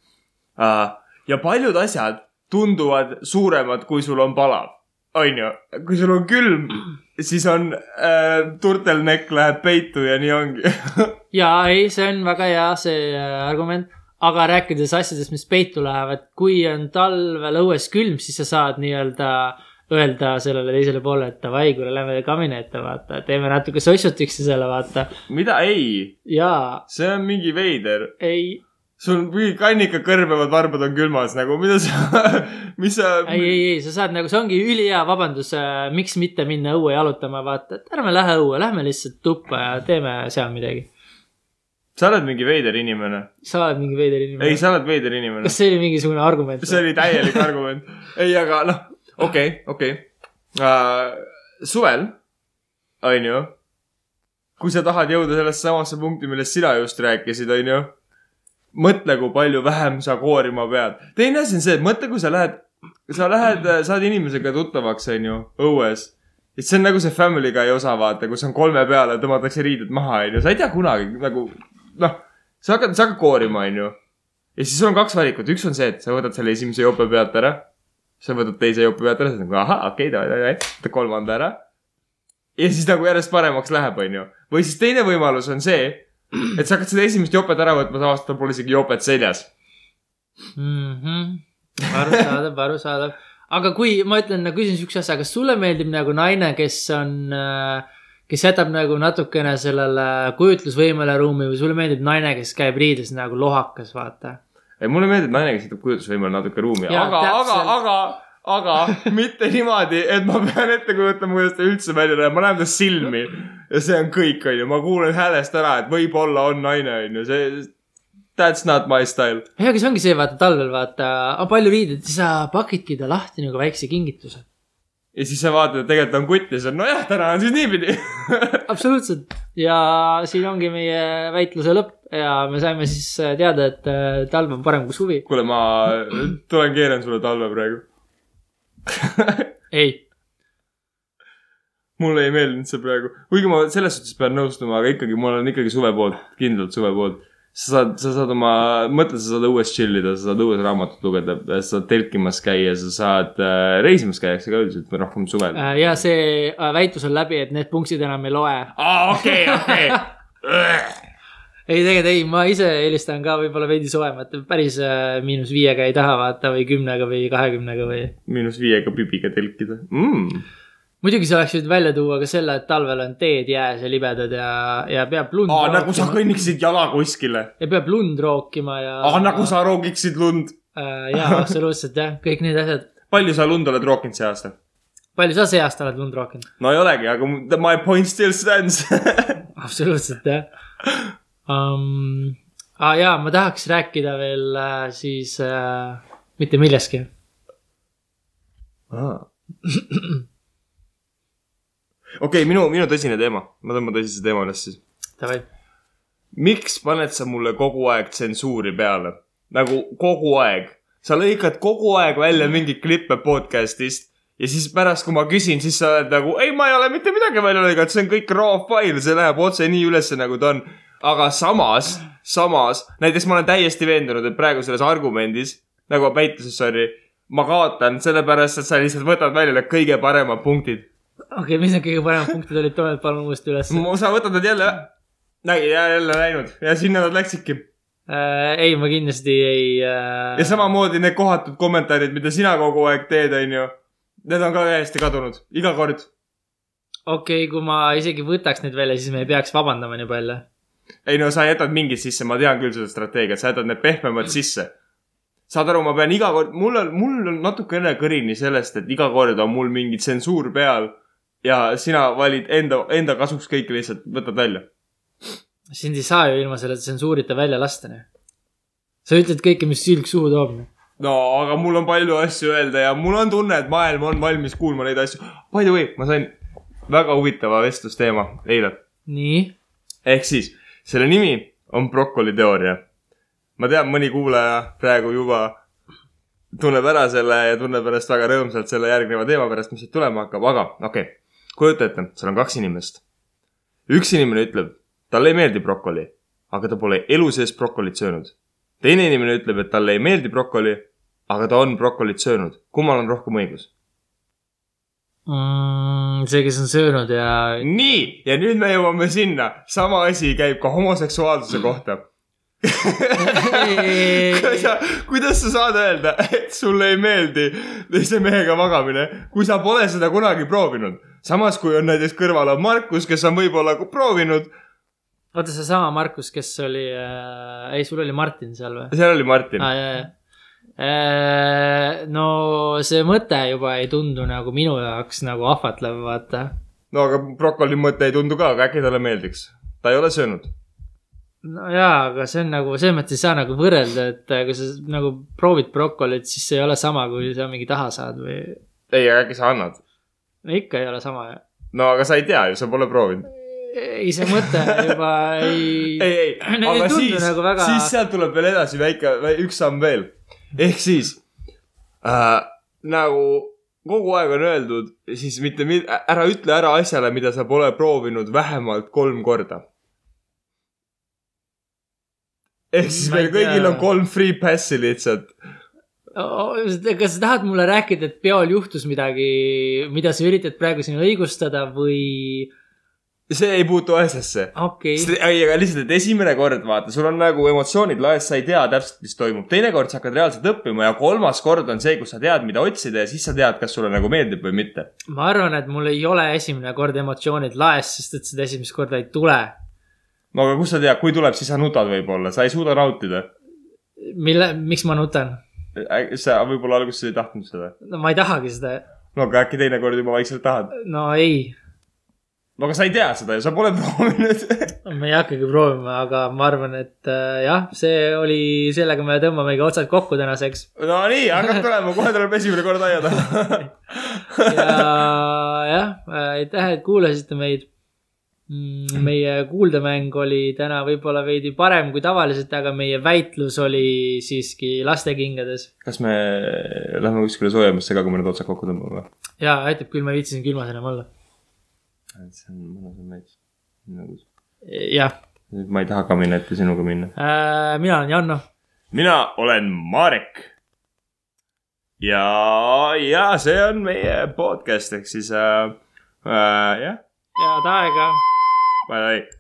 Speaker 1: uh, . ja paljud asjad tunduvad suuremad , kui sul on palav , on ju , kui sul on külm , siis on äh, turtelnekk läheb peitu ja nii ongi .
Speaker 2: ja ei , see on väga hea , see äh, argument . aga rääkides asjadest , mis peitu lähevad , kui on talvel õues külm , siis sa saad nii-öelda öelda sellele teisele poole , et davai , kuule , lähme kamina ette , vaata , teeme natuke sossutiks ja selle , vaata .
Speaker 1: mida ei ,
Speaker 2: jaa ,
Speaker 1: see on mingi veider ,
Speaker 2: ei ,
Speaker 1: sul mingi kannika kõrbevad varbad on külmas nagu , mida sa , mis sa .
Speaker 2: ei , ei , ei , sa saad nagu , see ongi ülihea vabandus , miks mitte minna õue jalutama , vaata , et ärme lähe õue , lähme lihtsalt tuppa ja teeme seal midagi .
Speaker 1: sa oled mingi veider inimene ,
Speaker 2: sa oled mingi veider
Speaker 1: ei ,
Speaker 2: inimene .
Speaker 1: sa oled veider inimene
Speaker 2: kas , see oli mingisugune argument ?
Speaker 1: see oli täielik argument , ei , aga noh , okei , okei . suvel , on ju , kui sa tahad jõuda sellesse samasse punkti , millest sina just rääkisid , on ju mõtle , kui palju vähem sa koorima pead . teine asi on see , et mõtle , kui sa lähed , sa lähed , saad inimesega tuttavaks , onju , õues . et see on nagu see Family Guy osa , vaata , kus on kolme peale , tõmmatakse riided maha , onju , sa ei tea kunagi nagu , noh , sa hakkad , sa hakkad koorima , onju . ja siis sul on kaks valikut , üks on see , et sa võtad selle esimese jope pealt ära . sa võtad teise jope pealt ära , siis nagu ahah , okei okay, , davai , davai , võtad kolmanda ära . ja siis nagu järjest paremaks läheb , onju . või siis teine võimalus on see et sa hakkad seda esimest jopet ära võtma , sa avastad , tal pole isegi jopet seljas .
Speaker 2: mhmh , Mhm. arusaadav , arusaadav . aga kui ma ütlen , küsin siukse asja , kas sulle meeldib nagu naine , kes on , kes jätab nagu natukene sellele kujutlusvõimele ruumi või sulle meeldib naine , kes käib riides nagu lohakas , vaata ?
Speaker 1: ei , mulle meeldib naine , kes jätab kujutlusvõimele natuke ruumi ,
Speaker 2: Jaa,
Speaker 1: aga , aga ,
Speaker 2: täpselt.
Speaker 1: aga , aga mitte niimoodi , et ma pean ette kujutama , kuidas ta üldse välja näeb , ma näen ta silmi . ja see on kõik , onju , ma kuulen häälest ära , et võib-olla on naine , onju , see . That's not my style .
Speaker 2: ja , aga see ongi see , vaata talvel vaata , palju riideid , siis sa pakidki ta lahti nagu väikse kingituse .
Speaker 1: ja siis sa vaatad , et tegelikult on kutt ja siis on nojah , täna on siis niipidi .
Speaker 2: absoluutselt ja siin ongi meie väitluse lõpp ja me saime siis teada , et äh, talv on parem kui suvi .
Speaker 1: kuule , ma tulen keeran sulle talve praegu .
Speaker 2: ei ,
Speaker 1: mulle ei meeldinud see praegu , kuigi ma selles suhtes pean nõustuma , aga ikkagi mul on ikkagi suve poolt , kindlalt suve poolt . sa saad , sa saad oma , mõtle , sa saad õues chill ida , sa saad õues raamatut lugeda , sa saad telkimas käia , sa saad äh, reisimas käiakse ka üldiselt või rohkem suvel .
Speaker 2: Äh, ja see äh, väitlus on läbi , et need punktid enam ei loe .
Speaker 1: aa , okei , okei .
Speaker 2: ei , tegelikult ei , ma ise eelistan ka võib-olla veidi soojemat , päris äh, miinus viiega ei taha vaata või kümnega või kahekümnega või .
Speaker 1: miinus viiega pibiga telkida mm. .
Speaker 2: muidugi sa oleks võinud välja tuua ka selle , et talvel on teed jääs ja libedad ja , ja peab lund .
Speaker 1: aa , nagu sa kõnniksid jala kuskile .
Speaker 2: ja peab lund rookima ja .
Speaker 1: aa , nagu sa roogiksid lund .
Speaker 2: äh, . jaa , absoluutselt jah , kõik need asjad .
Speaker 1: palju sa lund oled rookinud see aasta ?
Speaker 2: palju sa see aasta oled lund rookinud ?
Speaker 1: no ei olegi , aga mu- my point still stands .
Speaker 2: absoluutselt jah um, . aa jaa , ma tahaks rääkida veel äh, siis äh, mitte millestki .
Speaker 1: Aa. okei , minu , minu tõsine teema , ma tõmban tõsise teema üles siis .
Speaker 2: Davai ,
Speaker 1: miks paned sa mulle kogu aeg tsensuuri peale ? nagu kogu aeg , sa lõikad kogu aeg välja mingeid klippe podcast'ist ja siis pärast , kui ma küsin , siis sa oled nagu , ei , ma ei ole mitte midagi välja lõiganud , see on kõik raw fail , see läheb otse nii ülesse , nagu ta on . aga samas , samas , näiteks ma olen täiesti veendunud , et praegu selles argumendis , nagu väitluses , sorry , ma kaotan sellepärast , et sa lihtsalt võtad välja need kõige paremad punktid .
Speaker 2: okei , mis need kõige paremad punktid olid , too hetk palun uuesti üles .
Speaker 1: sa võtad nad jälle , jälle läinud ja sinna nad läksidki
Speaker 2: Äh, ei , ma kindlasti ei
Speaker 1: ja
Speaker 2: äh... .
Speaker 1: samamoodi need kohatud kommentaarid , mida sina kogu aeg teed , onju . Need on ka täiesti kadunud , iga kord .
Speaker 2: okei okay, , kui ma isegi võtaks need välja , siis me ei peaks vabandama nii palju .
Speaker 1: ei no sa jätad mingid sisse , ma tean küll seda strateegiat , sa jätad need pehmemad sisse . saad aru , ma pean iga kord , mul on , mul on natukene kõrini sellest , et iga kord on mul mingi tsensuur peal ja sina valid enda , enda kasuks kõik lihtsalt võtad välja .
Speaker 2: sind ei saa ju ilma selle tsensuurita välja lasta , noh . sa ütled kõike , mis sülg suhu toob . noh.
Speaker 1: no aga mul on palju asju öelda ja mul on tunne , et maailm on valmis kuulma neid asju . By the way , ma sain väga huvitava vestlusteema eile
Speaker 2: nii ,
Speaker 1: ehk siis selle nimi on brokoliteooria . ma tean , mõni kuulaja praegu juba tunneb ära selle ja tunneb ennast väga rõõmsalt selle järgneva teema pärast , mis siit tulema hakkab , aga okei okay. . kujuta ette , seal on kaks inimest . üks inimene ütleb , talle ei meeldi brokoli , aga ta pole elu sees brokolit söönud . teine inimene ütleb , et talle ei meeldi brokoli , aga ta on brokolit söönud . kummal on rohkem õigus ?
Speaker 2: mm, . see , kes on söönud ja
Speaker 1: nii , ja nüüd me jõuame sinna , sama asi käib ka homoseksuaalsuse kohta kui sa , kuidas sa saad öelda , et sulle ei meeldi teise mehega magamine , kui sa pole seda kunagi proovinud ? samas , kui on näiteks kõrval on Markus , kes on võib-olla ku- proovinud ,
Speaker 2: oota , seesama Markus , kes oli äh... , ei , sul oli Martin seal või ?
Speaker 1: seal oli Martin
Speaker 2: ah, . jaa , jaa . no see mõte juba ei tundu nagu minu jaoks nagu ahvatlev , vaata .
Speaker 1: no aga brokoli mõte ei tundu ka , aga äkki talle meeldiks . ta ei ole söönud .
Speaker 2: no jaa , aga see on nagu , selles mõttes ei saa nagu võrrelda , et äh, kui sa s- nagu proovid brokolit , siis see ei ole sama , kui sa mingi taha saad või .
Speaker 1: ei , aga äkki sa annad .
Speaker 2: no ikka ei ole sama ju .
Speaker 1: no aga sa ei tea ju , sa pole proovinud .
Speaker 2: ei , see mõte juba ei .
Speaker 1: ei , ei ,
Speaker 2: Need ei
Speaker 1: aga
Speaker 2: tundu
Speaker 1: siis
Speaker 2: nagu väga- ,
Speaker 1: siis sealt tuleb veel edasi väike , üks samm veel . ehk siis äh, nagu kogu aeg on öeldud , siis mitte , ära ütle ära asjale , mida sa pole proovinud vähemalt kolm korda . ehk siis
Speaker 2: Ma ei
Speaker 1: meil kõigil
Speaker 2: tea.
Speaker 1: on kolm free pass'i lihtsalt .
Speaker 2: kas sa tahad mulle rääkida , et peol juhtus midagi , mida sa üritad praegu siin õigustada või ?
Speaker 1: see ei puutu asjasse .
Speaker 2: okei okay. ,
Speaker 1: ei , aga lihtsalt , et esimene kord vaata , sul on nagu emotsioonid laes , sa ei tea täpselt , mis toimub , teinekord sa hakkad reaalselt õppima ja kolmas kord on see , kus sa tead , mida otsida ja siis sa tead , kas sulle nagu meeldib või mitte .
Speaker 2: ma arvan , et mul ei ole esimene kord emotsioonid laes , sest et seda esimest korda ei tule .
Speaker 1: no aga kust sa tead , kui tuleb , siis sa nutad võib-olla , sa ei suuda nautida .
Speaker 2: mille , miks ma nutan ?
Speaker 1: sa võib-olla alguses ei tahtnud seda .
Speaker 2: no ma ei tahagi seda ,
Speaker 1: no aga äkki teinekord juba vaikselt tahad .
Speaker 2: no ei ,
Speaker 1: no aga sa ei tea seda ju , sa pole proovinud .
Speaker 2: ma ei hakkagi proovima , aga ma arvan , et äh, jah , see oli , sellega me tõmbamegi otsad kokku tänaseks .
Speaker 1: Nonii , hakkab tulema , kohe tuleb esimene kord aia taha .
Speaker 2: ja jah , aitäh , et kuulasite meid . meie kuuldemäng oli täna võib-olla veidi parem kui tavaliselt , aga meie väitlus oli siiski lastekingades .
Speaker 1: kas me lähme kuskile soojemasse ka , kui me need otsad kokku tõmbame või ?
Speaker 2: ja aitab küll , ma ei viitsinud külmas enam olla .
Speaker 1: see on mõnus Nagu on veits . nüüd
Speaker 2: jah ,
Speaker 1: ma ei taha kabinetti sinuga minna .
Speaker 2: mina olen Janno .
Speaker 1: mina olen Marek . ja , ja see on meie podcast ehk siis äh, äh, jah ,
Speaker 2: head aega
Speaker 1: bye bye .